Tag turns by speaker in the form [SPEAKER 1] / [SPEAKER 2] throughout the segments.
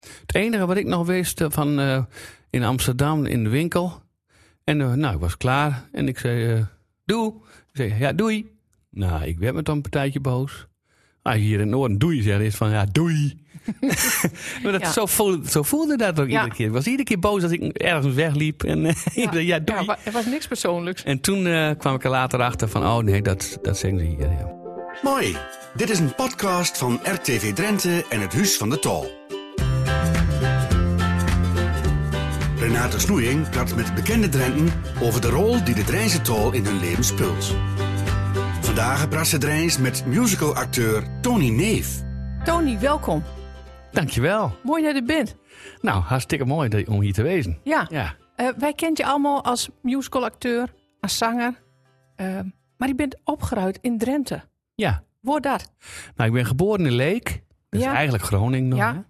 [SPEAKER 1] Het enige wat ik nog wist eh, van eh, in Amsterdam in de winkel. En eh, nou, ik was klaar. En ik zei, eh doe. Ik zei, ja, doei. Nou, ik werd me dan een partijtje boos. Als je hier in het noorden doei zegt, is het van ja, doei. maar dat,
[SPEAKER 2] Ja.
[SPEAKER 1] zo, voelde, zo voelde dat ook
[SPEAKER 2] Ja.
[SPEAKER 1] iedere keer. Ik was iedere keer boos als ik ergens wegliep. En eh, ik zei, ja, doei.
[SPEAKER 2] Ja, wa- er was niks persoonlijks.
[SPEAKER 1] En toen eh, kwam ik er later achter van, oh nee, dat, dat zeggen ze hier. Ja.
[SPEAKER 3] Mooi. Dit is een podcast van RTV Drenthe en het Huis van de Tal. Renate Snoeing praat met bekende Drenten over de rol die de Drijnse Tal in hun leven speelt. Vandaag praat ze Drijns met musicalacteur Tony Neef.
[SPEAKER 2] Tony, welkom.
[SPEAKER 1] Dankjewel.
[SPEAKER 2] Mooi dat je er bent.
[SPEAKER 1] Nou, hartstikke mooi dat- om hier te wezen.
[SPEAKER 2] Ja.
[SPEAKER 1] Ja.
[SPEAKER 2] Eh, wij kent je allemaal als musicalacteur, als zanger. Eh, maar je bent opgeruid in Drenthe.
[SPEAKER 1] Ja.
[SPEAKER 2] Wordt dat?
[SPEAKER 1] Nou, ik ben geboren in Leek. Dat
[SPEAKER 2] Ja.
[SPEAKER 1] is eigenlijk Groningen nog.
[SPEAKER 2] Ja.
[SPEAKER 1] hè.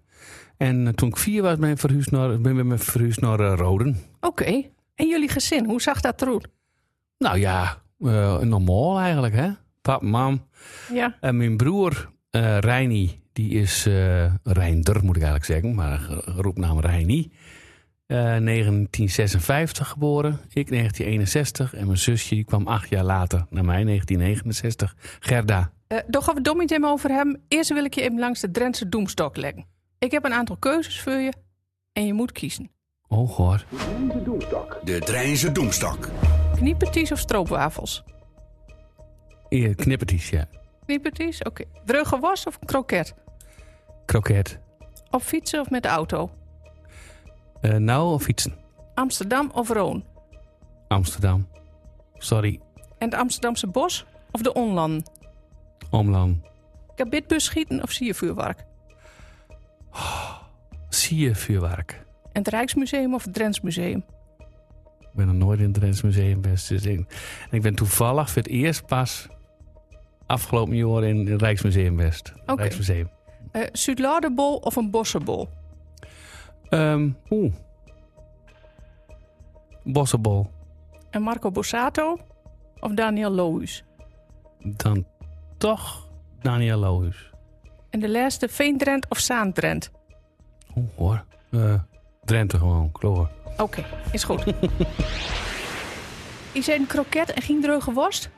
[SPEAKER 1] En eh, toen ik vier was, ben ik verhuisd naar, ben ik met verhuisd naar eh, Roden.
[SPEAKER 2] Oké. En jullie gezin, hoe zag dat eruit?
[SPEAKER 1] Nou ja, eh, normaal eigenlijk, hè? Pap, mam.
[SPEAKER 2] Ja.
[SPEAKER 1] En mijn broer eh Reinie, die is eh Reinder, moet ik eigenlijk zeggen, maar ge- roepnaam Reinie. Eh, 1956 geboren, ik 1961 en mijn zusje die kwam acht jaar later naar mij, 1969, Gerda.
[SPEAKER 2] Eh daar gaan we het meteen over hebben. Eerst wil ik je even langs de Drentse doemstok leggen. Ik heb een aantal keuzes voor je en je moet kiezen.
[SPEAKER 1] Oh god.
[SPEAKER 3] De Drijnse Doemstak.
[SPEAKER 2] Knieperties of stroopwafels?
[SPEAKER 1] Eh, Knippertjes, ja.
[SPEAKER 2] Knieperties, oké. Dreuge was of kroket?
[SPEAKER 1] Kroket.
[SPEAKER 2] Op fietsen of met de auto?
[SPEAKER 1] Eh, nou, of fietsen.
[SPEAKER 2] Amsterdam of Roon?
[SPEAKER 1] Amsterdam. Sorry,
[SPEAKER 2] En het Amsterdamse bos of de onlanden?
[SPEAKER 1] Omlan.
[SPEAKER 2] Kabitbus schieten of siervuurwerk?
[SPEAKER 1] Zie je vuurwerk?
[SPEAKER 2] En het Rijksmuseum of het Drents Museum?
[SPEAKER 1] Ik ben nog nooit in het Drents Museum best dus ik- En ik ben toevallig voor het eerst pas afgelopen jaar in het Rijksmuseum West.
[SPEAKER 2] Oké.
[SPEAKER 1] Rijksmuseum.
[SPEAKER 2] Eh Zuidlaardebol of een bossenbol?
[SPEAKER 1] Ehm, Oeh. Bossenbol.
[SPEAKER 2] En Marco Borsato of Daniel Lohuis?
[SPEAKER 1] Dan toch Daniel Lohuis.
[SPEAKER 2] En de laatste Veendrent of Zaandrent?
[SPEAKER 1] Oeh hoor. Eh, Drenthe gewoon, kloor.
[SPEAKER 2] Oké, is goed. Je zei een kroket en ging dreuge worst?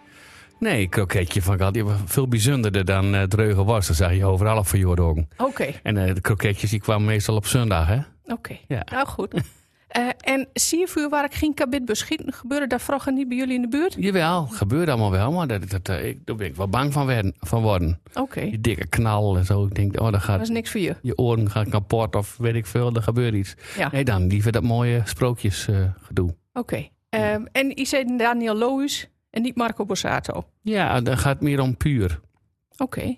[SPEAKER 1] Nee, kroketje van Gat. Die was veel bijzonderder dan eh dreuge was. Dat zag je overal op van Jordogen.
[SPEAKER 2] Oké,
[SPEAKER 1] En eh, de kroketjes die kwamen meestal op zondag, hè?
[SPEAKER 2] oké.
[SPEAKER 1] Ja.
[SPEAKER 2] Nou goed. Eh en siervuurwerk ging kabitbus schieten? Gebeurde dat vroeger niet bij jullie in de buurt?
[SPEAKER 1] Jawel, gebeurt allemaal wel, maar dat, dat, eh, ik, daar ben ik wel bang van, werden, van worden.
[SPEAKER 2] Oké,
[SPEAKER 1] Die dikke knal en zo. Ik denk, oh, dan
[SPEAKER 2] dat is
[SPEAKER 1] gaat
[SPEAKER 2] niks voor je.
[SPEAKER 1] je oren gaan kapot of weet ik veel, er gebeurt iets.
[SPEAKER 2] Ja.
[SPEAKER 1] Nee, dan liever dat mooie eh, sprookjesgedoe.
[SPEAKER 2] Oké. Ehm, en je zei Daniel Lohuis en niet Marco Borsato. Oké.
[SPEAKER 1] ja, dan gaat het meer om puur.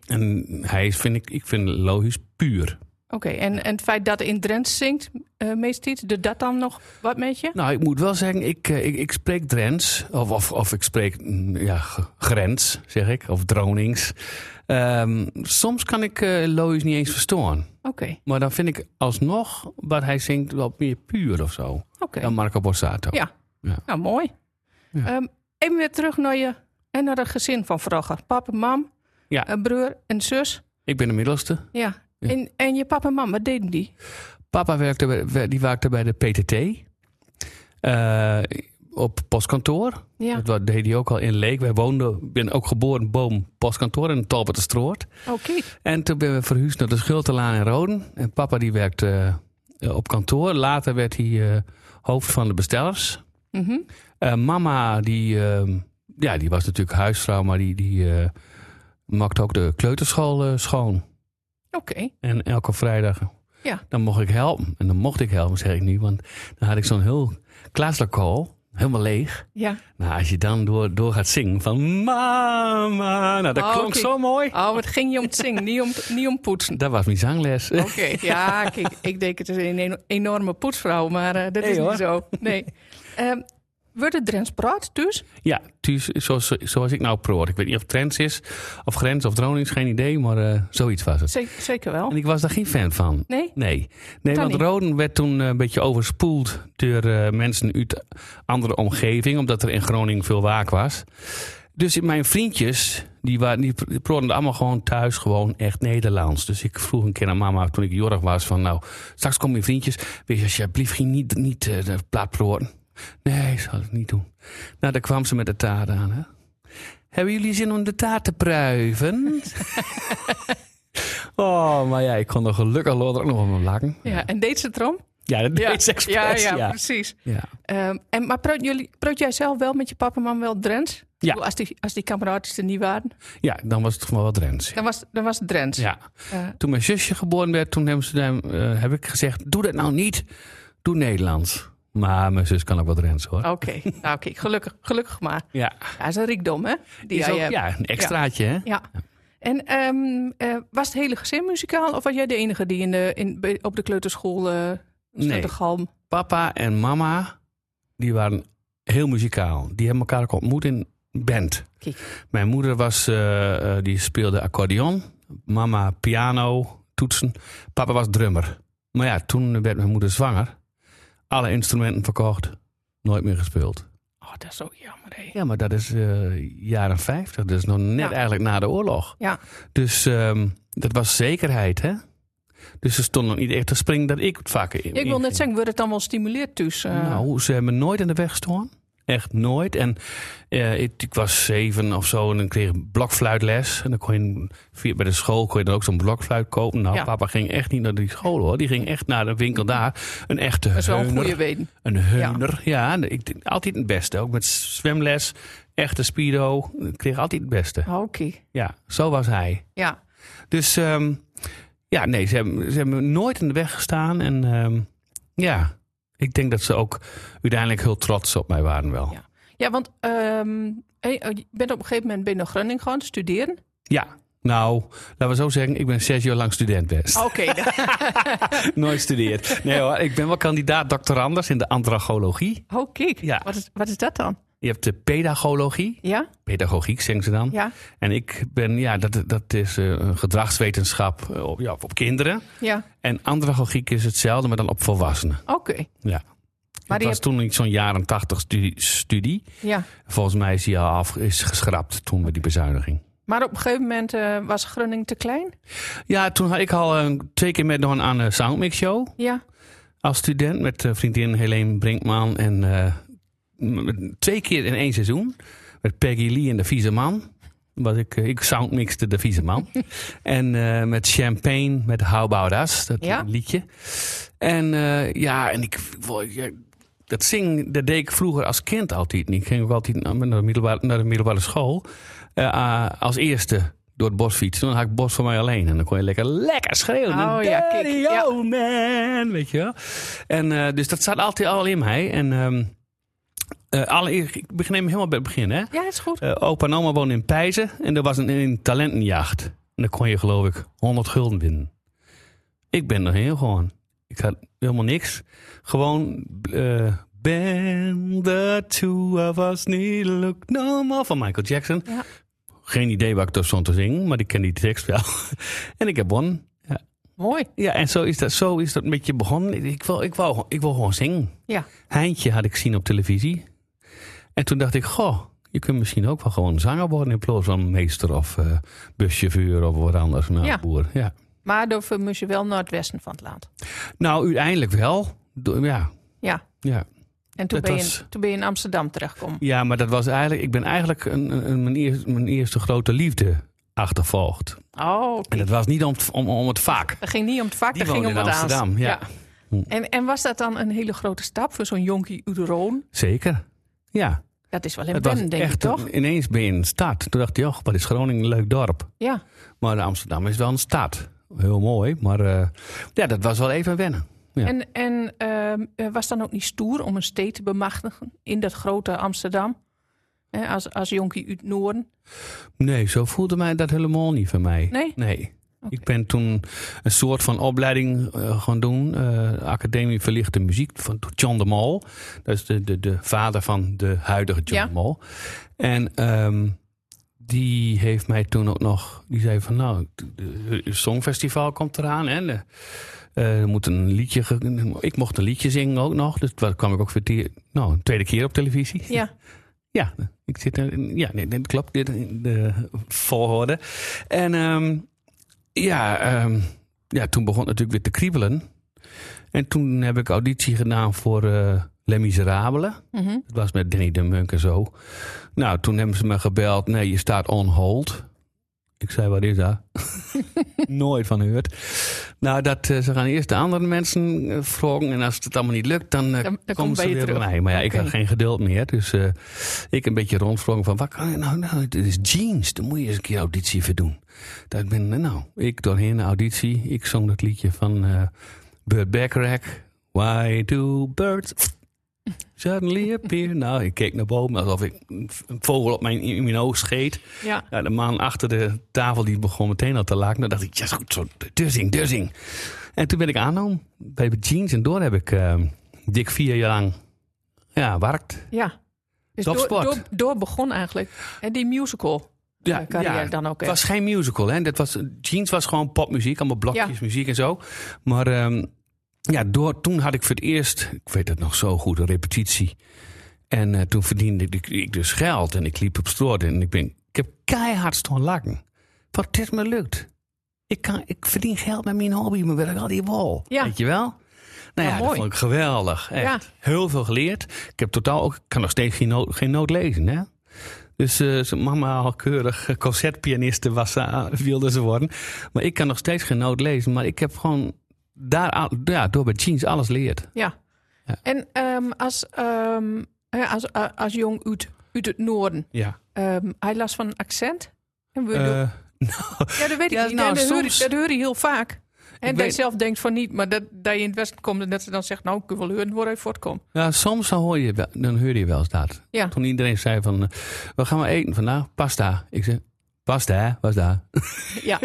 [SPEAKER 1] En hij is, vind ik, ik vind Lohuis puur.
[SPEAKER 2] Oké, en, en het feit dat in Drenthe zingt, eh meest iets, doet dat dan nog wat met je?
[SPEAKER 1] Nou, ik moet wel zeggen, ik, eh, ik, ik spreek Drents. Of, of, of ik spreek mm, ja, g- Grens, zeg ik. Of Dronings. Ehm, soms kan ik eh Lohuis niet eens verstaan.
[SPEAKER 2] Oké,
[SPEAKER 1] Maar dan vind ik alsnog wat hij zingt wat meer puur of zo.
[SPEAKER 2] oké.
[SPEAKER 1] Dan Marco Borsato.
[SPEAKER 2] Ja.
[SPEAKER 1] Ja.
[SPEAKER 2] Nou, mooi.
[SPEAKER 1] Ja.
[SPEAKER 2] Ehm, even weer terug naar je en naar het gezin van vroeger. Pap en mam,
[SPEAKER 1] Ja.
[SPEAKER 2] een broer en zus.
[SPEAKER 1] Ik ben de middelste.
[SPEAKER 2] Ja.
[SPEAKER 1] Ja.
[SPEAKER 2] En, en je pap en mam, wat deden die?
[SPEAKER 1] Papa werkte bij, wer- die werkte bij de PTT. eh, op postkantoor.
[SPEAKER 2] Ja,
[SPEAKER 1] Dat wa- deed hij ook al in Leek. Wij woonden, ik ben ook geboren boom postkantoor in Talbot-Stroort.
[SPEAKER 2] oké.
[SPEAKER 1] En toen ben we verhuisd naar de Schultelaan in Roden. En papa die werkte eh, eh, op kantoor. Later werd hij eh, hoofd van de bestellers.
[SPEAKER 2] Mhm.
[SPEAKER 1] Eh, mama, die, ehm, ja, die was natuurlijk huisvrouw, maar die, die eh, maakte ook de kleuterschool eh, schoon.
[SPEAKER 2] Oké,
[SPEAKER 1] En elke vrijdag.
[SPEAKER 2] Ja.
[SPEAKER 1] Dan mocht ik helpen. En dan mocht ik helpen, zeg ik nu. Want dan had ik zo'n heel klaslokaal, helemaal leeg.
[SPEAKER 2] ja.
[SPEAKER 1] Nou, als je dan door, door gaat zingen van mama. Nou, dat
[SPEAKER 2] Oh,
[SPEAKER 1] klonk
[SPEAKER 2] oké.
[SPEAKER 1] zo mooi.
[SPEAKER 2] Oh, het ging je om het zingen, niet om, niet om poetsen.
[SPEAKER 1] Dat was mijn zangles.
[SPEAKER 2] Oké, ja, kijk, ik denk het is een eno- enorme poetsvrouw, maar eh, dat
[SPEAKER 1] Nee,
[SPEAKER 2] is
[SPEAKER 1] hoor.
[SPEAKER 2] niet zo. Nee. Ehm wordt het Drents praat dus?
[SPEAKER 1] Ja, thuis, zoals, zoals ik nou proor. Ik weet niet of het Trends is, of Grens, of Dronings, geen idee. Maar eh, zoiets was het.
[SPEAKER 2] Ze- zeker
[SPEAKER 1] En
[SPEAKER 2] wel.
[SPEAKER 1] ik was daar geen fan van.
[SPEAKER 2] Nee?
[SPEAKER 1] Nee, nee
[SPEAKER 2] Kan
[SPEAKER 1] want
[SPEAKER 2] niet.
[SPEAKER 1] Roden werd toen eh, een beetje overspoeld door eh, mensen uit andere omgeving, omdat er in Groningen veel waak was. Dus mijn vriendjes, die, waren, die pr- die proorden allemaal gewoon thuis gewoon echt Nederlands. Dus ik vroeg een keer aan mama toen ik jorg was van nou, straks komen je vriendjes. Weet je alsjeblieft ging niet, niet eh, de plaat proorden. Nee, ik zal het niet doen. Nou, daar kwam ze met de taart aan. Hè? Hebben jullie zin om de taart te pruiven? oh, maar ja, ik kon er gelukkig later ook nog om lachen.
[SPEAKER 2] Ja, en deed ze het erom?
[SPEAKER 1] Ja, dat deed ze expres.
[SPEAKER 2] ja,
[SPEAKER 1] ja.
[SPEAKER 2] precies.
[SPEAKER 1] ja.
[SPEAKER 2] Ehm, en, maar proot, jullie, proot jij zelf wel met je papa en mam wel Drents? Ik bedoel, Als die, als die kameraadjes er niet waren,
[SPEAKER 1] Ja, dan was het gewoon wel Drents.
[SPEAKER 2] dan was, dan was het Drents.
[SPEAKER 1] Ja.
[SPEAKER 2] Eh,
[SPEAKER 1] Toen mijn zusje geboren werd, toen hebben ze, daar, eh, heb ik gezegd, doe dat nou niet. Doe Nederlands. Maar mijn zus kan ook wat Drents hoor.
[SPEAKER 2] Oké, nou, oké, gelukkig, gelukkig maar.
[SPEAKER 1] Ja,
[SPEAKER 2] Ja, dat is een rijkdom, hè? Die
[SPEAKER 1] is
[SPEAKER 2] jij
[SPEAKER 1] ook,
[SPEAKER 2] hebt.
[SPEAKER 1] ja, een extraatje hè.
[SPEAKER 2] Ja. En ehm, eh, was het hele gezin muzikaal of was jij de enige die in de, in, bij- op de kleuterschool eh stond
[SPEAKER 1] Nee.
[SPEAKER 2] de galm?
[SPEAKER 1] Papa en mama, die waren heel muzikaal. Die hebben elkaar ook ontmoet in band.
[SPEAKER 2] Kijk.
[SPEAKER 1] Mijn moeder was, eh, eh, die speelde accordeon. Mama piano, toetsen. Papa was drummer. Maar ja, toen werd mijn moeder zwanger. Alle instrumenten verkocht. Nooit meer gespeeld.
[SPEAKER 2] Oh, dat is ook jammer, hè?
[SPEAKER 1] Ja, maar dat is eh, jaren 50. Dat is nog net
[SPEAKER 2] Ja.
[SPEAKER 1] eigenlijk na de oorlog.
[SPEAKER 2] Ja.
[SPEAKER 1] Dus ehm, dat was zekerheid, hè? Dus ze stonden nog niet echt te springen dat ik het vaak in.
[SPEAKER 2] Ik wil net zeggen, wordt het dan wel stimuleerd dus? eh?
[SPEAKER 1] Nou, ze hebben me nooit in de weg gestaan. Echt nooit. En eh, ik, ik was zeven of zo en dan kreeg ik blokfluitles. En dan kon je via, bij de school kon je dan ook zo'n blokfluit kopen. Nou,
[SPEAKER 2] Ja.
[SPEAKER 1] papa ging echt niet naar die school hoor. Die ging echt naar de winkel daar. Een echte
[SPEAKER 2] dat is wel een
[SPEAKER 1] heuner.
[SPEAKER 2] goede weten.
[SPEAKER 1] Een heuner, ja. en ik, denk altijd het beste. Ook met zwemles, echte speedo. Ik kreeg altijd het beste.
[SPEAKER 2] Oh, Oké,
[SPEAKER 1] Ja, zo was hij.
[SPEAKER 2] ja.
[SPEAKER 1] Dus ehm, ja, nee, ze hebben, ze hebben me nooit in de weg gestaan. En ehm, ja, ik denk dat ze ook uiteindelijk heel trots op mij waren wel.
[SPEAKER 2] Ja. Ja, want ehm, hey, eh, je bent op een gegeven moment ben je naar Groningen gaan studeren.
[SPEAKER 1] Ja, nou, laten we zo zeggen, ik ben zes jaar lang student best.
[SPEAKER 2] Oké, da-
[SPEAKER 1] Nooit studeerd. Nee hoor, ik ben wel kandidaat doctorandus in de andragologie.
[SPEAKER 2] oh kijk,
[SPEAKER 1] Ja.
[SPEAKER 2] wat, is, wat is dat dan?
[SPEAKER 1] Je hebt de pedagogologie,
[SPEAKER 2] Ja,
[SPEAKER 1] pedagogiek zeggen ze dan.
[SPEAKER 2] ja,
[SPEAKER 1] En ik ben, ja, dat, dat is eh, een gedragswetenschap eh, op, ja, op kinderen.
[SPEAKER 2] ja,
[SPEAKER 1] En andragogiek is hetzelfde, maar dan op volwassenen.
[SPEAKER 2] oké.
[SPEAKER 1] Ja.
[SPEAKER 2] Maar
[SPEAKER 1] Maar
[SPEAKER 2] die
[SPEAKER 1] was toen niet zo'n jaren tachtig studie, studie.
[SPEAKER 2] Ja.
[SPEAKER 1] Volgens mij is die al af, is geschrapt toen met die bezuiniging.
[SPEAKER 2] Maar op een gegeven moment eh, was Groningen te klein.
[SPEAKER 1] Ja, toen had ik al eh, twee keer meegedaan aan de Soundmix Show.
[SPEAKER 2] Ja,
[SPEAKER 1] Als student met eh, vriendin Helene Brinkman. En eh, m- m- twee keer in één seizoen. Met Peggy Lee en de Vieze Man. Was ik, eh, ik soundmixte de Vieze Man. en eh, met Champagne, met How About Us, dat
[SPEAKER 2] Ja.
[SPEAKER 1] liedje. En eh, ja, en ik... wo- ja, dat zing, dat deed ik vroeger als kind altijd. En ik ging ook altijd naar naar de middelbare, naar de middelbare school. eh, ah, als eerste door het bosfiets. Toen had ik het bos voor mij alleen. En dan kon je lekker, lekker schreeuwen.
[SPEAKER 2] Oh ja, kijk,
[SPEAKER 1] Daddy,
[SPEAKER 2] ja.
[SPEAKER 1] oh man, weet je wel. En, eh, dus dat staat altijd al in mij. En ehm eh, allereerst, ik begin hem helemaal bij het begin. Hè?
[SPEAKER 2] ja, is goed.
[SPEAKER 1] Eh, opa en oma woonden in Pijzen en er was een, een talentenjacht. En dan kon je geloof ik 100 gulden winnen. Ik ben er heel gewoon. Ik had helemaal niks. Gewoon eh Ben the two of us need look no more van Michael Jackson.
[SPEAKER 2] Ja.
[SPEAKER 1] Geen idee waar ik dat stond te zingen, maar ik ken die tekst wel. en ik heb won.
[SPEAKER 2] Mooi.
[SPEAKER 1] Ja, en zo is dat, zo is dat met je begonnen. Ik- Ik wil, ik, wou, ik wil gewoon zingen.
[SPEAKER 2] Ja.
[SPEAKER 1] Heintje had ik zien op televisie. En toen dacht ik, goh, je kunt misschien ook wel gewoon zanger worden... in plaats van meester of eh, buschauffeur of wat anders. Nou,
[SPEAKER 2] Ja.
[SPEAKER 1] boer. Ja.
[SPEAKER 2] Maar daarvoor moest je wel naar het westen van het land.
[SPEAKER 1] nou uiteindelijk wel. Do- Ja,
[SPEAKER 2] Ja.
[SPEAKER 1] ja.
[SPEAKER 2] En toen,
[SPEAKER 1] Dat
[SPEAKER 2] ben,
[SPEAKER 1] was-
[SPEAKER 2] je, toen ben je in Amsterdam terechtgekomen.
[SPEAKER 1] ja, maar dat was eigenlijk... Ik ben eigenlijk een, een, een- mijn, eerste, mijn eerste grote liefde achtervolgd.
[SPEAKER 2] Oh, oké.
[SPEAKER 1] En dat was niet om, het- om, om het vaak.
[SPEAKER 2] dat ging niet om het vak,
[SPEAKER 1] Die
[SPEAKER 2] dat ging om
[SPEAKER 1] woonde
[SPEAKER 2] het
[SPEAKER 1] in Amsterdam,
[SPEAKER 2] aans.
[SPEAKER 1] ja. Hm.
[SPEAKER 2] En, en was dat dan een hele grote stap voor zo'n jonkie Uderoon?
[SPEAKER 1] Zeker. Ja.
[SPEAKER 2] Dat is wel in
[SPEAKER 1] Het was
[SPEAKER 2] Ben, denk ik
[SPEAKER 1] echt
[SPEAKER 2] toch?
[SPEAKER 1] een- ineens ben je in een stad. Toen dacht je, oh, wat is Groningen een leuk dorp.
[SPEAKER 2] Ja.
[SPEAKER 1] Maar Amsterdam is wel een stad. Heel mooi, maar eh, ja, dat was wel even wennen. Ja.
[SPEAKER 2] En, en ehm, eh, was dan ook niet stoer om een steed te bemachtigen in dat grote Amsterdam? Hè, als, als jonkie uit Noorden?
[SPEAKER 1] Nee, zo voelde mij dat helemaal niet van mij.
[SPEAKER 2] Nee?
[SPEAKER 1] Ik ben toen een soort van opleiding eh, gaan doen. eh, Academie Verlichte Muziek van door John de Mol. Dat is de, de, de vader van de huidige John
[SPEAKER 2] Ja.
[SPEAKER 1] de Mol. En ehm, die heeft mij toen ook nog... Die zei van nou, het Songfestival komt eraan. Hè? De- eh, er moet een liedje... ge- Ik mocht een liedje zingen ook nog. Dus daar kwam ik ook voor die, nou, een tweede keer op televisie.
[SPEAKER 2] Ja.
[SPEAKER 1] Ja, ik zit er, ja nee, dat klopt. Dit in de volgorde. En ehm, ja, ehm, ja, toen begon het natuurlijk weer te kriebelen. En toen heb ik auditie gedaan voor eh Les Miserables.
[SPEAKER 2] Mhm.
[SPEAKER 1] Dat was met Danny de Munk en zo. Nou, toen hebben ze me gebeld. Nee, je staat on hold. Ik zei, wat is dat? Nooit van gehoord. Nou, dat, eh, ze gaan eerst de andere mensen eh, vragen. En als het allemaal niet lukt, dan, eh,
[SPEAKER 2] Dan- dan
[SPEAKER 1] komen
[SPEAKER 2] komt
[SPEAKER 1] ze
[SPEAKER 2] bij je
[SPEAKER 1] weer bij
[SPEAKER 2] terug.
[SPEAKER 1] mij. Maar ja, ik
[SPEAKER 2] Oké.
[SPEAKER 1] had geen geduld meer. Dus eh, ik een beetje rondvroeg van, wat kan je nou? Nou, dit is jeans. Dan moet je eens een keer auditie voor doen. Dat ben, eh, nou, ik doorheen de auditie. Ik zong dat liedje van eh Burt Bacharach. Why do birds suddenly appear? Nou, ik keek naar boven alsof ik een v- een vogel op mijn, in mijn oog scheet.
[SPEAKER 2] Ja.
[SPEAKER 1] Ja, Nou, de man achter de tafel die begon meteen al te laken. Dan dacht ik, ja, is goed, zo, dursing, dursing. En toen ben ik aangenomen bij de jeans. En door heb ik eh, dik vier jaar lang ja, werkt.
[SPEAKER 2] ja. Dus door,
[SPEAKER 1] Topsport.
[SPEAKER 2] door, door begon eigenlijk. En die musical
[SPEAKER 1] Ja,
[SPEAKER 2] eh, carrière
[SPEAKER 1] ja.
[SPEAKER 2] dan ook.
[SPEAKER 1] Het
[SPEAKER 2] echt.
[SPEAKER 1] was geen musical, hè? Dat was, jeans was gewoon popmuziek, allemaal blokjes muziek en zo. Maar ehm, ja, door, toen had ik voor het eerst, ik weet het nog zo goed, een repetitie. En eh, toen verdiende ik, ik dus geld en ik liep op straat en ik, ben, ik heb keihard staan lachen. Wat dit me lukt. Ik, kan, ik verdien geld met mijn hobby, maar wil ik al die wol.
[SPEAKER 2] Ja.
[SPEAKER 1] Weet je wel? Nou ja,
[SPEAKER 2] Ja,
[SPEAKER 1] dat
[SPEAKER 2] mooi.
[SPEAKER 1] vond ik geweldig. Echt.
[SPEAKER 2] Ja.
[SPEAKER 1] Heel veel geleerd. Ik heb totaal ook, ik kan nog steeds geen noot, geen noot lezen, hè? Dus eh, ze mama al keurig eh, concertpianiste was, ze- wilde ze worden. Maar ik kan nog steeds geen noot lezen. Maar ik heb gewoon daar, al- ja, door bij jeans alles leerd.
[SPEAKER 2] Ja.
[SPEAKER 1] Ja.
[SPEAKER 2] En ehm, als, ehm, hè, als, eh, als jong uit, uit het noorden,
[SPEAKER 1] Ja.
[SPEAKER 2] ehm, hij last van accent? En we doen- ja, dat weet ik
[SPEAKER 1] Eh, ja,
[SPEAKER 2] niet.
[SPEAKER 1] nou,
[SPEAKER 2] En dat, hoor
[SPEAKER 1] soms-
[SPEAKER 2] ik, dat hoor je heel vaak. En dat
[SPEAKER 1] weet-
[SPEAKER 2] je zelf denkt van niet, maar dat, dat je in het westen komt en dat ze dan zegt, nou, ik wil wel horen waar hij voortkomt.
[SPEAKER 1] ja, soms dan hoor je, wel- dan hoor je wel eens dat.
[SPEAKER 2] Ja.
[SPEAKER 1] Toen iedereen zei van, eh, we gaan maar eten vandaag, pasta. Ik zei, pasta, was daar.
[SPEAKER 2] Ja,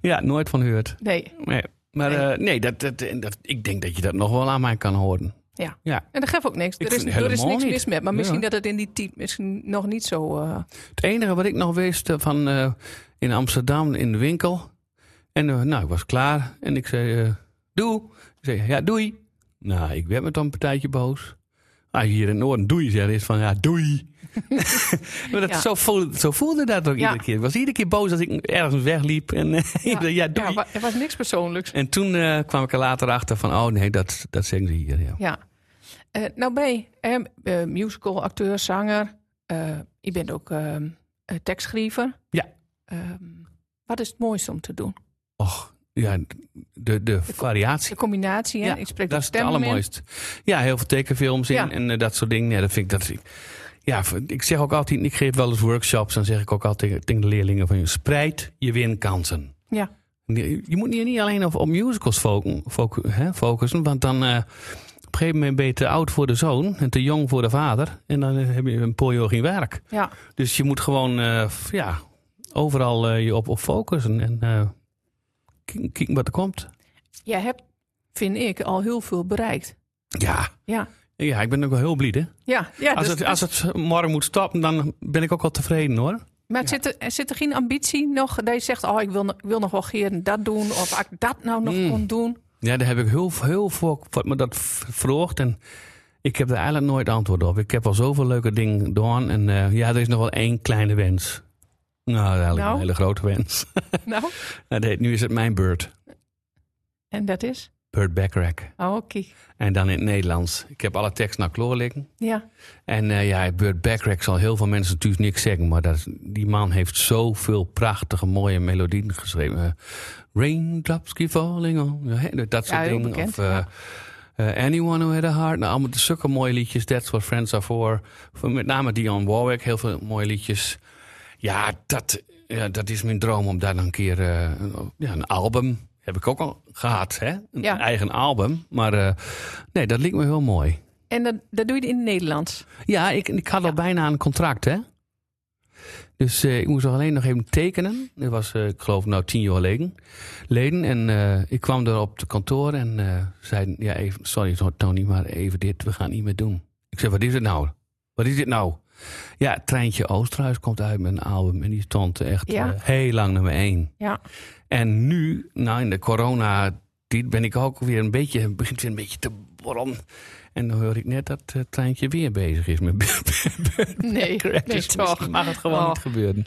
[SPEAKER 1] ja, nooit van gehoord.
[SPEAKER 2] nee.
[SPEAKER 1] Nee. Maar
[SPEAKER 2] Nee.
[SPEAKER 1] eh, nee, dat, dat, dat, ik denk dat je dat nog wel aan mij kan horen.
[SPEAKER 2] En dat geeft ook niks.
[SPEAKER 1] Ik
[SPEAKER 2] Er is,
[SPEAKER 1] vind
[SPEAKER 2] er is
[SPEAKER 1] helemaal
[SPEAKER 2] niks
[SPEAKER 1] niet.
[SPEAKER 2] mis met. Maar
[SPEAKER 1] Ja.
[SPEAKER 2] misschien dat het in die tijd misschien nog niet zo... eh,
[SPEAKER 1] Het enige wat ik nog wist eh, van eh, in Amsterdam in de winkel. En eh, nou, ik was klaar en ik zei: eh, Doe. Ik zei: Ja, doei. Nou, ik werd me dan een partijtje boos. Ah, hier in het Noorden, doei zeggen is van ja, doei. maar dat,
[SPEAKER 2] Ja.
[SPEAKER 1] zo, voelde, zo voelde dat ook
[SPEAKER 2] Ja.
[SPEAKER 1] iedere keer. Ik was iedere keer boos als ik ergens wegliep en eh, ik zei, ja, doei.
[SPEAKER 2] ja, wa- er was niks persoonlijks.
[SPEAKER 1] En toen eh, kwam ik er later achter van, oh nee, dat, dat zeggen ze hier. Ja.
[SPEAKER 2] Ja. Eh, nou ben je musical, acteur, zanger. Eh, je bent ook ehm eh, tekstschrijver.
[SPEAKER 1] Ja.
[SPEAKER 2] Ehm, wat is het mooiste om te doen?
[SPEAKER 1] Och, ja, de, de variatie.
[SPEAKER 2] De combinatie, hè? ik spreek
[SPEAKER 1] dat
[SPEAKER 2] ook
[SPEAKER 1] is het
[SPEAKER 2] stemmen in.
[SPEAKER 1] allermooiste. Ja, heel veel tekenfilms in
[SPEAKER 2] Ja.
[SPEAKER 1] en eh, dat soort dingen. Ja, dat vind ik dat. Ik, ja, v- ik zeg ook altijd, ik geef wel eens workshops, dan zeg ik ook altijd tegen- tegen de leerlingen van je spreid je winkansen.
[SPEAKER 2] Ja.
[SPEAKER 1] Je je moet hier niet alleen op, op musicals focu- focu- hè, focussen, want dan eh, op een gegeven moment ben je te oud voor de zoon en te jong voor de vader. En dan eh, heb je een polio geen werk.
[SPEAKER 2] Ja.
[SPEAKER 1] Dus je moet gewoon eh, f- ja, overal eh, je op, op focussen en eh, k- kijken wat er komt.
[SPEAKER 2] Jij hebt, vind ik, al heel veel bereikt.
[SPEAKER 1] Ja.
[SPEAKER 2] Ja.
[SPEAKER 1] Ja, ik ben ook wel heel blij, hè?
[SPEAKER 2] Ja, ja
[SPEAKER 1] Als
[SPEAKER 2] dus-
[SPEAKER 1] het, als het morgen moet stoppen, dan ben ik ook wel tevreden hoor.
[SPEAKER 2] maar zit, er, zit er geen ambitie nog dat je zegt: Oh, ik wil, no- wil nog wel Geren dat doen, of als ik dat nou nog
[SPEAKER 1] Mm.
[SPEAKER 2] kon doen?
[SPEAKER 1] Ja, daar heb ik heel, heel veel wat me dat v- vroeg. En ik heb daar eigenlijk nooit antwoord op. Ik heb al zoveel leuke dingen gedaan. En eh, ja, er is nog wel één kleine wens. Nou, eigenlijk
[SPEAKER 2] Nou?
[SPEAKER 1] een hele grote wens.
[SPEAKER 2] Nou,
[SPEAKER 1] Nou, nee, nu is het mijn beurt.
[SPEAKER 2] en dat is?
[SPEAKER 1] Burt Bacharach.
[SPEAKER 2] Oh, oké.
[SPEAKER 1] En dan in het Nederlands. Ik heb alle tekst naar kloor liggen.
[SPEAKER 2] Ja.
[SPEAKER 1] En eh, ja, Burt Bacharach zal heel veel mensen natuurlijk niks zeggen. Maar dat, die man heeft zoveel prachtige, mooie melodieën geschreven. Eh, Raindrops keep falling on. your head, Dat soort
[SPEAKER 2] heel
[SPEAKER 1] dingen.
[SPEAKER 2] bekend,
[SPEAKER 1] of eh,
[SPEAKER 2] ja.
[SPEAKER 1] eh, Anyone Who Had A Heart. Nou, allemaal zulke mooie liedjes. That's What Friends Are For. Van Met name Dionne Warwick. Heel veel mooie liedjes. Ja, dat, ja, dat is mijn droom om daar dan een keer eh, een- ja, een album... Heb ik ook al gehad, hè? Een
[SPEAKER 2] Ja.
[SPEAKER 1] eigen album. Maar eh, nee, dat leek me heel mooi.
[SPEAKER 2] En dat, dat doe je in het Nederlands.
[SPEAKER 1] Ja, ik, ik had al bijna een contract, hè? Dus eh, ik moest nog alleen nog even tekenen. Dat was, eh, ik geloof, nou tien jaar geleden. Leden. En eh, ik kwam er op het kantoor en eh zeiden... Ja, even, sorry Tony, maar even dit, we gaan niet meer doen. Ik zei, wat is het nou? Wat is dit nou? Ja, Treintje Oosterhuis komt uit met een album. En die stond echt
[SPEAKER 2] Ja.
[SPEAKER 1] eh, heel lang nummer één.
[SPEAKER 2] Ja.
[SPEAKER 1] En nu, nou in de corona, die ben ik ook weer een beetje, begint weer een beetje te waarom? En dan hoor ik net dat het treintje weer bezig is met
[SPEAKER 2] Nee, nee
[SPEAKER 1] dus
[SPEAKER 2] toch.
[SPEAKER 1] misschien mag het gewoon
[SPEAKER 2] Oh.
[SPEAKER 1] niet gebeuren.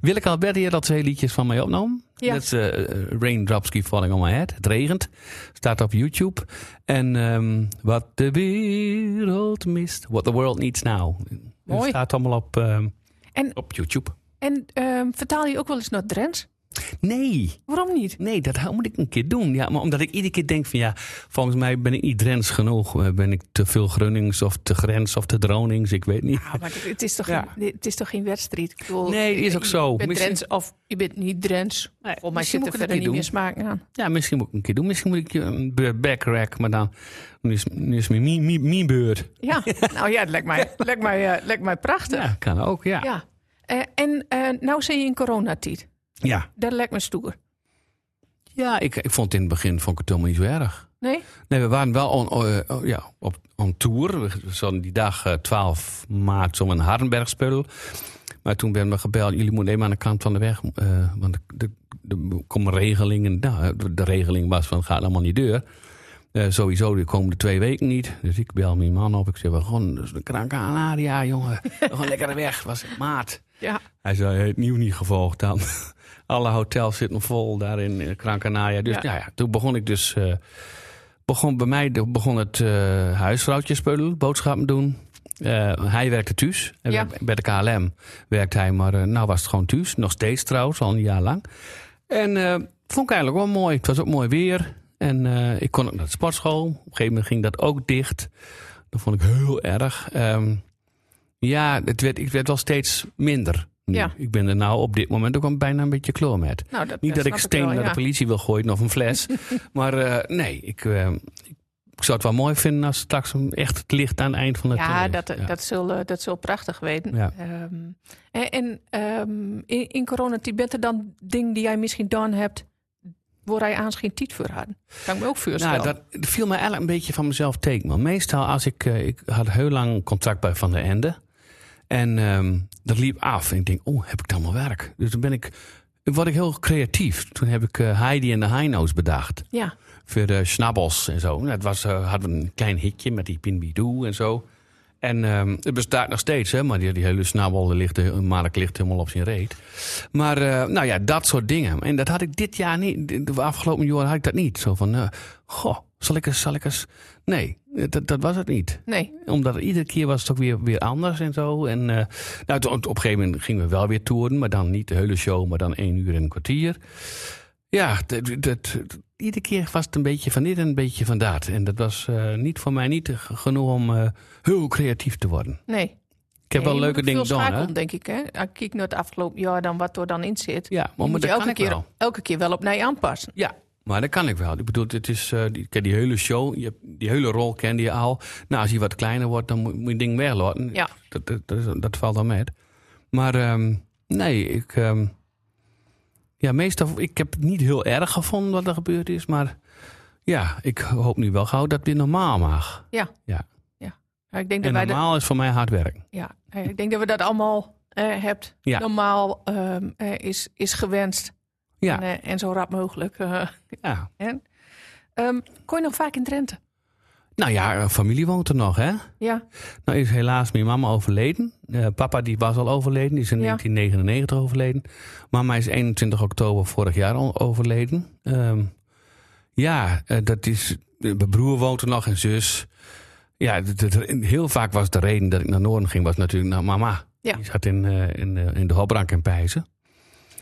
[SPEAKER 1] Willeke Albert hier dat twee liedjes van mij opnam.
[SPEAKER 2] Ja.
[SPEAKER 1] Dat is eh, Raindrops Keep Falling On My Head. Het regent. Staat op YouTube. En ehm What the World Missed. What the World Needs Now. Dat
[SPEAKER 2] Mooi.
[SPEAKER 1] staat allemaal op, ehm,
[SPEAKER 2] En-
[SPEAKER 1] op YouTube.
[SPEAKER 2] En ehm, vertaal je ook wel eens naar Drents?
[SPEAKER 1] Nee,
[SPEAKER 2] Waarom niet?
[SPEAKER 1] nee, dat moet ik een keer doen. Ja, maar omdat ik iedere keer denk van ja, volgens mij ben ik niet Drents genoeg. Eh, Ben ik te veel Grunnings of te Grens of te Dronings, ik weet niet.
[SPEAKER 2] Ja, maar het- het is toch,
[SPEAKER 1] Ja.
[SPEAKER 2] geen, het is toch geen wedstrijd? Ik bedoel,
[SPEAKER 1] Nee, is ook zo.
[SPEAKER 2] Je bent
[SPEAKER 1] Misschien-
[SPEAKER 2] Drents of je bent niet Drents. Volgens mij
[SPEAKER 1] misschien
[SPEAKER 2] zit
[SPEAKER 1] moet ik
[SPEAKER 2] er
[SPEAKER 1] het
[SPEAKER 2] verder
[SPEAKER 1] een
[SPEAKER 2] niet
[SPEAKER 1] keer
[SPEAKER 2] meer
[SPEAKER 1] doen.
[SPEAKER 2] smaak aan.
[SPEAKER 1] Ja, misschien moet ik een keer doen. Misschien moet ik eh, een beurt backrack, maar dan nu is, nu is mijn mie- mie- mie beurt.
[SPEAKER 2] Ja, nou ja, het lijkt mij, lijkt mij, eh, lijkt mij prachtig.
[SPEAKER 1] Ja, kan ook, ja.
[SPEAKER 2] Ja. Eh, en eh nou zijn je in coronatijd.
[SPEAKER 1] Ja,
[SPEAKER 2] Dat lijkt me stoer.
[SPEAKER 1] ja ik, ik vond het in het begin vond ik het helemaal niet zo erg.
[SPEAKER 2] Nee?
[SPEAKER 1] Nee, we waren wel on, eh, oh, ja, op on tour. We zouden die dag eh, 12 maart zo'n Hardenberg spullen. Maar toen werden we gebeld, jullie moeten even aan de kant van de weg. eh, want er- er er komen regelingen. Nou, de- de regeling was van, gaat allemaal niet deur. Eh, sowieso de komende twee weken niet. Dus ik bel mijn man op. Ik zeg, we gaan dus de kranke Alaria, jongen. We gaan lekker weg. Was het maart.
[SPEAKER 2] Ja.
[SPEAKER 1] Hij zei, het nieuw niet gevolgd dan. Alle hotels zitten vol daar in eh, Gran Canaria. Dus
[SPEAKER 2] Ja.
[SPEAKER 1] ja. Nou ja, toen begon ik dus... eh, begon bij mij de- begon het eh huisvrouwtje spullen, boodschappen doen. Eh, hij werkte thuis. En
[SPEAKER 2] Ja.
[SPEAKER 1] Bij de KLM werkte hij, maar eh, nou was het gewoon thuis. Nog steeds trouwens, al een jaar lang. En eh, vond ik eigenlijk wel mooi. Het was ook mooi weer. En eh, ik kon ook naar de sportschool. Op een gegeven moment ging dat ook dicht. Dat vond ik heel erg. Ehm, ja, het werd, het werd wel steeds minder. nu.
[SPEAKER 2] Ja.
[SPEAKER 1] Ik ben er nou op dit moment ook al bijna een beetje kloor met.
[SPEAKER 2] Nou, dat,
[SPEAKER 1] Niet dat
[SPEAKER 2] snap
[SPEAKER 1] ik steen
[SPEAKER 2] wel,
[SPEAKER 1] naar
[SPEAKER 2] ja.
[SPEAKER 1] de politie wil gooien of een fles. maar eh, nee, ik, eh, ik zou het wel mooi vinden als straks een- echt het licht aan het eind van de
[SPEAKER 2] Ja,
[SPEAKER 1] tunnel is.
[SPEAKER 2] dat, Dat, zul, eh, dat zul prachtig weten.
[SPEAKER 1] Ja.
[SPEAKER 2] Ehm, en en ehm, in, in coronatijd bent er dan ding die jij misschien dan hebt... waar hij aans geen tijd voor had. Kan ik me ook voorstellen.
[SPEAKER 1] Nou, dat viel mij eigenlijk een beetje van mezelf tegen. Maar meestal als ik... eh, ik had heel lang contract bij Van der Ende. En ehm, dat liep af. En ik denk, oh, heb ik dan wel werk? Dus toen ben ik... Word ik heel creatief. Toen heb ik eh, Heidi en de Heino's bedacht.
[SPEAKER 2] Ja,
[SPEAKER 1] Voor de schnabbels en zo. Nou, het was, eh, hadden we een klein hitje met die Pinbidoo en zo. En ehm, het bestaat nog steeds, hè, maar die, die hele snabbel die ligt, eh, Mark ligt helemaal op zijn reet. Maar eh, nou ja, dat soort dingen. En dat had ik dit jaar niet. De- De afgelopen jaar had ik dat niet. Zo van, eh, goh, zal ik eens, zal ik eens. Nee, eh, dat, dat was het niet
[SPEAKER 2] nee.
[SPEAKER 1] omdat het iedere keer was het ook weer, weer anders en zo. En eh, nou, toen- op een gegeven moment gingen we wel weer toeren, maar dan niet de hele show, maar dan één uur en een kwartier. Ja, dat, dat- dat- iedere keer was het een beetje van dit en een beetje van dat. En dat was eh, niet voor mij niet g- genoeg om eh, heel creatief te worden.
[SPEAKER 2] nee.
[SPEAKER 1] Ik heb wel leuke dingen gedaan, hè?
[SPEAKER 2] denk ik. Hè? Als ik kijk naar het afgelopen jaar, dan wat er dan in zit.
[SPEAKER 1] Ja, maar,
[SPEAKER 2] Je
[SPEAKER 1] maar
[SPEAKER 2] moet je
[SPEAKER 1] dat
[SPEAKER 2] elke
[SPEAKER 1] kan ik
[SPEAKER 2] keer,
[SPEAKER 1] wel.
[SPEAKER 2] elke keer wel op naar je aanpassen.
[SPEAKER 1] Ja, maar dat kan ik wel. Ik bedoel, het is, eh, die, kijk, die hele show, je, hebt- die hele rol kende je al. Nou, als je wat kleiner wordt, dan moet, moet je het ding weglaten.
[SPEAKER 2] Ja.
[SPEAKER 1] Dat, dat, dat, is- dat valt dan met. Maar ehm, nee, ik... ehm, ja, meestal... Ik heb het niet heel erg gevonden wat er gebeurd is, maar... Ja, ik hoop nu wel gauw dat het weer normaal mag.
[SPEAKER 2] Ja, ik, denk dat
[SPEAKER 1] En
[SPEAKER 2] wij dat,
[SPEAKER 1] normaal is voor mij hard werk.
[SPEAKER 2] ja, eh, ik denk dat we dat allemaal eh hebt.
[SPEAKER 1] Ja.
[SPEAKER 2] Normaal ehm, eh, is, is gewenst.
[SPEAKER 1] Ja.
[SPEAKER 2] En, eh, en zo rap mogelijk. eh.
[SPEAKER 1] Ja.
[SPEAKER 2] Ehm, kon je nog vaak in Drenthe?
[SPEAKER 1] Nou ja, eh, familie woont er nog, hè?
[SPEAKER 2] Ja,
[SPEAKER 1] Nou is helaas mijn mama overleden. Eh, papa die was al overleden, die is in
[SPEAKER 2] Ja.
[SPEAKER 1] 1999 overleden. Mama is 21 oktober vorig jaar al overleden. Ehm, ja, eh, dat is. Mijn broer woont er nog en zus. Ja, dat- dat- heel vaak was de reden dat ik naar Noorden ging, was natuurlijk naar mama.
[SPEAKER 2] Ja.
[SPEAKER 1] Die zat in, eh, in, eh, in de Hoprank en Pijzen.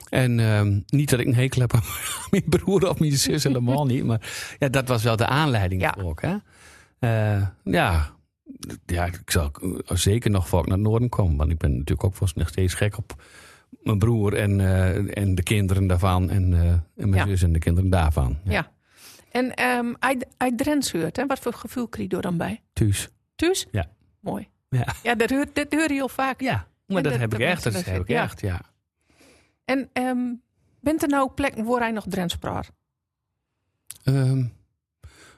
[SPEAKER 1] En ehm, niet dat ik een hekel heb aan mijn broer of mijn zus, helemaal niet. Maar ja, dat was wel de aanleiding
[SPEAKER 2] Ja.
[SPEAKER 1] ook. Hè? Eh, ja, ja, ik zal ook eh, zeker nog vaak naar het noorden komen. Want ik ben natuurlijk ook vast nog steeds gek op mijn broer en, eh, en de kinderen daarvan. En, eh, en mijn
[SPEAKER 2] Ja.
[SPEAKER 1] zus en de kinderen daarvan.
[SPEAKER 2] ja. En ehm uit, uit Drents heurt, hè? wat voor gevoel kreeg je er dan bij?
[SPEAKER 1] Thuis.
[SPEAKER 2] Thuis?
[SPEAKER 1] Ja.
[SPEAKER 2] Mooi.
[SPEAKER 1] Ja.
[SPEAKER 2] Ja, dat hoor, dat hoor je heel vaak.
[SPEAKER 1] Ja, maar
[SPEAKER 2] En
[SPEAKER 1] dat,
[SPEAKER 2] dat-
[SPEAKER 1] heb ik
[SPEAKER 2] dat
[SPEAKER 1] echt. Dat
[SPEAKER 2] mensen
[SPEAKER 1] heb
[SPEAKER 2] dat
[SPEAKER 1] ik
[SPEAKER 2] zit-
[SPEAKER 1] echt, ja.
[SPEAKER 2] En ehm, bent er nou plekken waar hij nog Drents praat?
[SPEAKER 1] Ehm,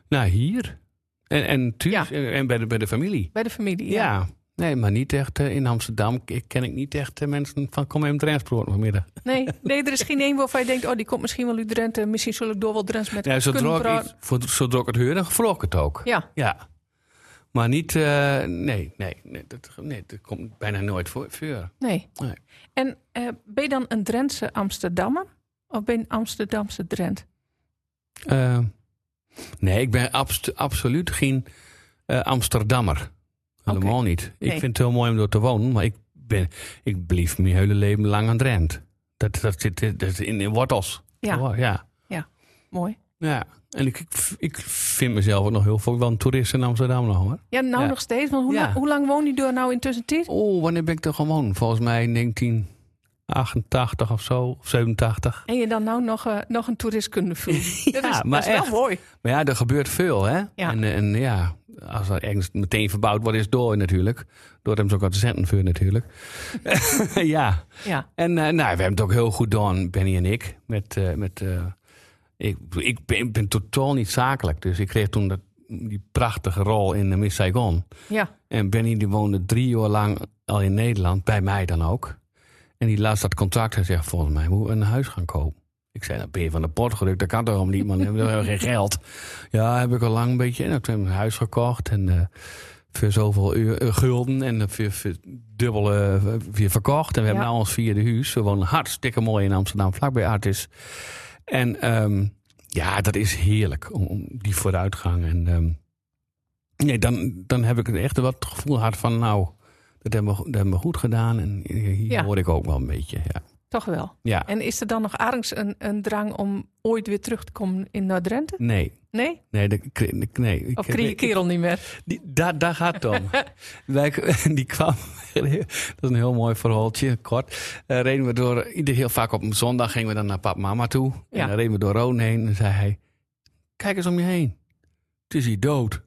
[SPEAKER 1] nou, hier. En, en thuis.
[SPEAKER 2] Ja.
[SPEAKER 1] En, en bij, de, bij de familie.
[SPEAKER 2] Bij de familie?
[SPEAKER 1] Ja. Nee, maar niet echt eh, in Amsterdam. Ik ken ik niet echt eh, mensen van kom hem Drensbrood vanmiddag.
[SPEAKER 2] Nee, nee, er is geen een waarvan je denkt, oh, die komt misschien wel uit Drenthe. Misschien zul ik door wel Drents met
[SPEAKER 1] Ja, zodra
[SPEAKER 2] kunnen
[SPEAKER 1] ik,
[SPEAKER 2] praten.
[SPEAKER 1] iets- voor- zodra ik het hoor, dan vroeg ik het ook.
[SPEAKER 2] Ja,
[SPEAKER 1] Ja. Maar niet, eh, nee, nee, nee dat, nee, dat komt bijna nooit voor. voor.
[SPEAKER 2] Nee.
[SPEAKER 1] Nee.
[SPEAKER 2] En eh, ben je dan een Drentse Amsterdammer? Of ben je een Amsterdamse Drent?
[SPEAKER 1] Eh, nee, ik ben abs- absoluut geen eh, Amsterdammer. Helemaal niet. Ik
[SPEAKER 2] Nee.
[SPEAKER 1] vind het heel mooi om door te wonen, maar ik, ben, ik bleef mijn hele leven lang aan Drenthe. Dat, dat zit eh, dat is in de wortels.
[SPEAKER 2] Ja.
[SPEAKER 1] Oh, ja.
[SPEAKER 2] Mooi.
[SPEAKER 1] ja. En ik, ik, ik vind mezelf ook nog heel veel wel een toerist in Amsterdam nog hoor.
[SPEAKER 2] Ja, nou
[SPEAKER 1] Ja.
[SPEAKER 2] nog steeds. Want hoe,
[SPEAKER 1] Ja.
[SPEAKER 2] lang, hoe lang woon je door nou intussen tijd?
[SPEAKER 1] Oh, wanneer ben ik er gewoon? Volgens mij in 1988 of zo, of 87.
[SPEAKER 2] En je dan nou nog, eh, nog een toerist kunnen voelen. dat is,
[SPEAKER 1] maar
[SPEAKER 2] dat is
[SPEAKER 1] echt.
[SPEAKER 2] wel mooi.
[SPEAKER 1] Maar ja, er gebeurt veel, hè?
[SPEAKER 2] Ja.
[SPEAKER 1] En, eh, en ja, als er ergens meteen verbouwd wordt, is het door natuurlijk. Door hem zo wat centen voor natuurlijk. ja.
[SPEAKER 2] Ja.
[SPEAKER 1] En eh, nou, we hebben het ook heel goed gedaan, Benny en ik. Met, eh, met, eh, ik, ik ben, ben totaal niet zakelijk. Dus ik kreeg toen dat, die prachtige rol in eh, Miss Saigon.
[SPEAKER 2] Ja.
[SPEAKER 1] En Benny die woonde drie jaar lang al in Nederland, bij mij dan ook. En die laatst dat contract en zegt, volgens mij moet een huis gaan kopen. Ik zei, dan ben je van de pot gelukt, dat kan toch om niet, man. We hebben geen geld. Ja, heb ik al lang een beetje. En toen heb ik een huis gekocht en eh, voor zoveel uur, eh, gulden en eh, voor, voor dubbel eh, weer verkocht. En we hebben
[SPEAKER 2] Ja.
[SPEAKER 1] nou ons vierde huis. We wonen hartstikke mooi in Amsterdam, vlakbij Artis. En ehm, ja, dat is heerlijk, om, om die vooruitgang. En ehm, Nee, dan, dan heb ik het echt wat het gevoel gehad van nou, dat hebben we, dat hebben we goed gedaan. En hier
[SPEAKER 2] Ja.
[SPEAKER 1] hoor ik ook wel een beetje. Ja.
[SPEAKER 2] Toch wel.
[SPEAKER 1] ja.
[SPEAKER 2] En is er dan nog ergens een, een drang om ooit weer terug te komen in Noord-Drenthe?
[SPEAKER 1] Nee.
[SPEAKER 2] Nee?
[SPEAKER 1] Nee, dat, ik- ik- nee. Ik,
[SPEAKER 2] Of kreeg je kerel niet meer?
[SPEAKER 1] Die, daar, daar gaat het om. Wij, die kwam, dat is een heel mooi verhaaltje, kort. Eh, reden we door, ieder heel vaak op een zondag gingen we dan naar pap mama toe.
[SPEAKER 2] Ja.
[SPEAKER 1] En dan reden we door Roon heen en zei hij, kijk eens om je heen. Het is hier dood.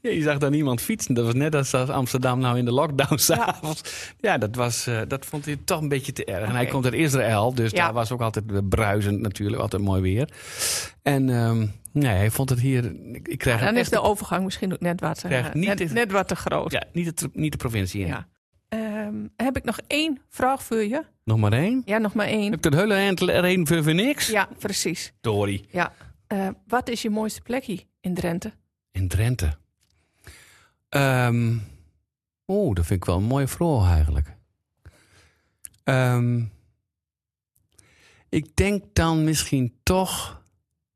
[SPEAKER 1] ja, je zag daar niemand fietsen. Dat was net als als Amsterdam nou in de lockdown s'avonds. Ja, dat, was, eh, dat vond hij toch een beetje te erg. En hij
[SPEAKER 2] Oké.
[SPEAKER 1] komt uit Israël, dus
[SPEAKER 2] Ja.
[SPEAKER 1] daar was ook altijd eh, bruisend natuurlijk. Altijd mooi weer. En ehm, nee, hij vond het hier... Ik, ik krijg
[SPEAKER 2] Dan
[SPEAKER 1] hem
[SPEAKER 2] is
[SPEAKER 1] echt
[SPEAKER 2] de overgang misschien ook net wat, te-
[SPEAKER 1] Krijg niet
[SPEAKER 2] net,
[SPEAKER 1] dit-
[SPEAKER 2] net wat te groot.
[SPEAKER 1] ja, niet de, niet de provincie in.
[SPEAKER 2] Ja. Ehm, heb ik nog één vraag voor je?
[SPEAKER 1] Nog maar één?
[SPEAKER 2] Ja, nog maar één.
[SPEAKER 1] Heb ik dat hele eind reden voor, voor niks?
[SPEAKER 2] Hm. Ja, precies.
[SPEAKER 1] Dory.
[SPEAKER 2] Ja. Eh, wat is je mooiste plekje in Drenthe?
[SPEAKER 1] In Drenthe. Ehm Oeh, dat vind ik wel een mooie vraag eigenlijk. Ehm, ik denk dan misschien toch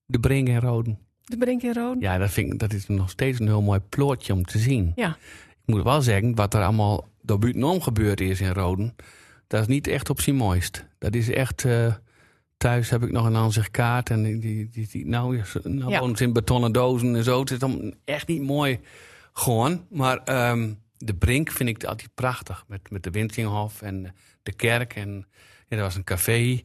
[SPEAKER 1] de Brink en Roden.
[SPEAKER 2] De Brink in Roden?
[SPEAKER 1] Ja, dat, vind ik, dat is nog steeds een heel mooi plootje om te zien.
[SPEAKER 2] Ja.
[SPEAKER 1] Ik moet wel zeggen, wat er allemaal door buitenom gebeurd is in Roden... dat is niet echt op zijn mooist. Dat is echt... eh, thuis heb ik nog een aanzichtkaart en die, die, die, die- nou, is- nou
[SPEAKER 2] Ja.
[SPEAKER 1] woont ze in betonnen dozen en zo. Het is dan echt niet mooi gewoon. Maar ehm, de Brink vind ik altijd prachtig. Met, met de Wintinghof en de kerk en ja, er was een café.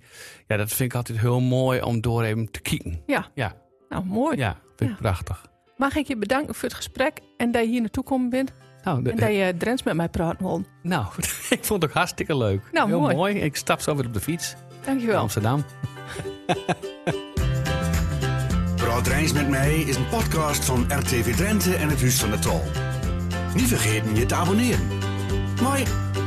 [SPEAKER 1] Ja, dat vind ik altijd heel mooi om door even te kijken.
[SPEAKER 2] Ja.
[SPEAKER 1] Ja,
[SPEAKER 2] Nou, mooi.
[SPEAKER 1] ja vind ik
[SPEAKER 2] Ja.
[SPEAKER 1] prachtig.
[SPEAKER 2] Mag ik je bedanken voor het gesprek en dat je hier naartoe gekomen bent
[SPEAKER 1] Nou, de-
[SPEAKER 2] en dat je Drents met mij praat wil.
[SPEAKER 1] Nou, ik vond het ook hartstikke leuk.
[SPEAKER 2] Nou,
[SPEAKER 1] Heel
[SPEAKER 2] mooi.
[SPEAKER 1] mooi. Ik stap zo weer op de fiets naar
[SPEAKER 2] Dankjewel.
[SPEAKER 1] Amsterdam.
[SPEAKER 3] Praat Rijns met mij is een podcast van RTV Drenthe en het Huis van de Tal. Niet vergeten je te abonneren. Mooi.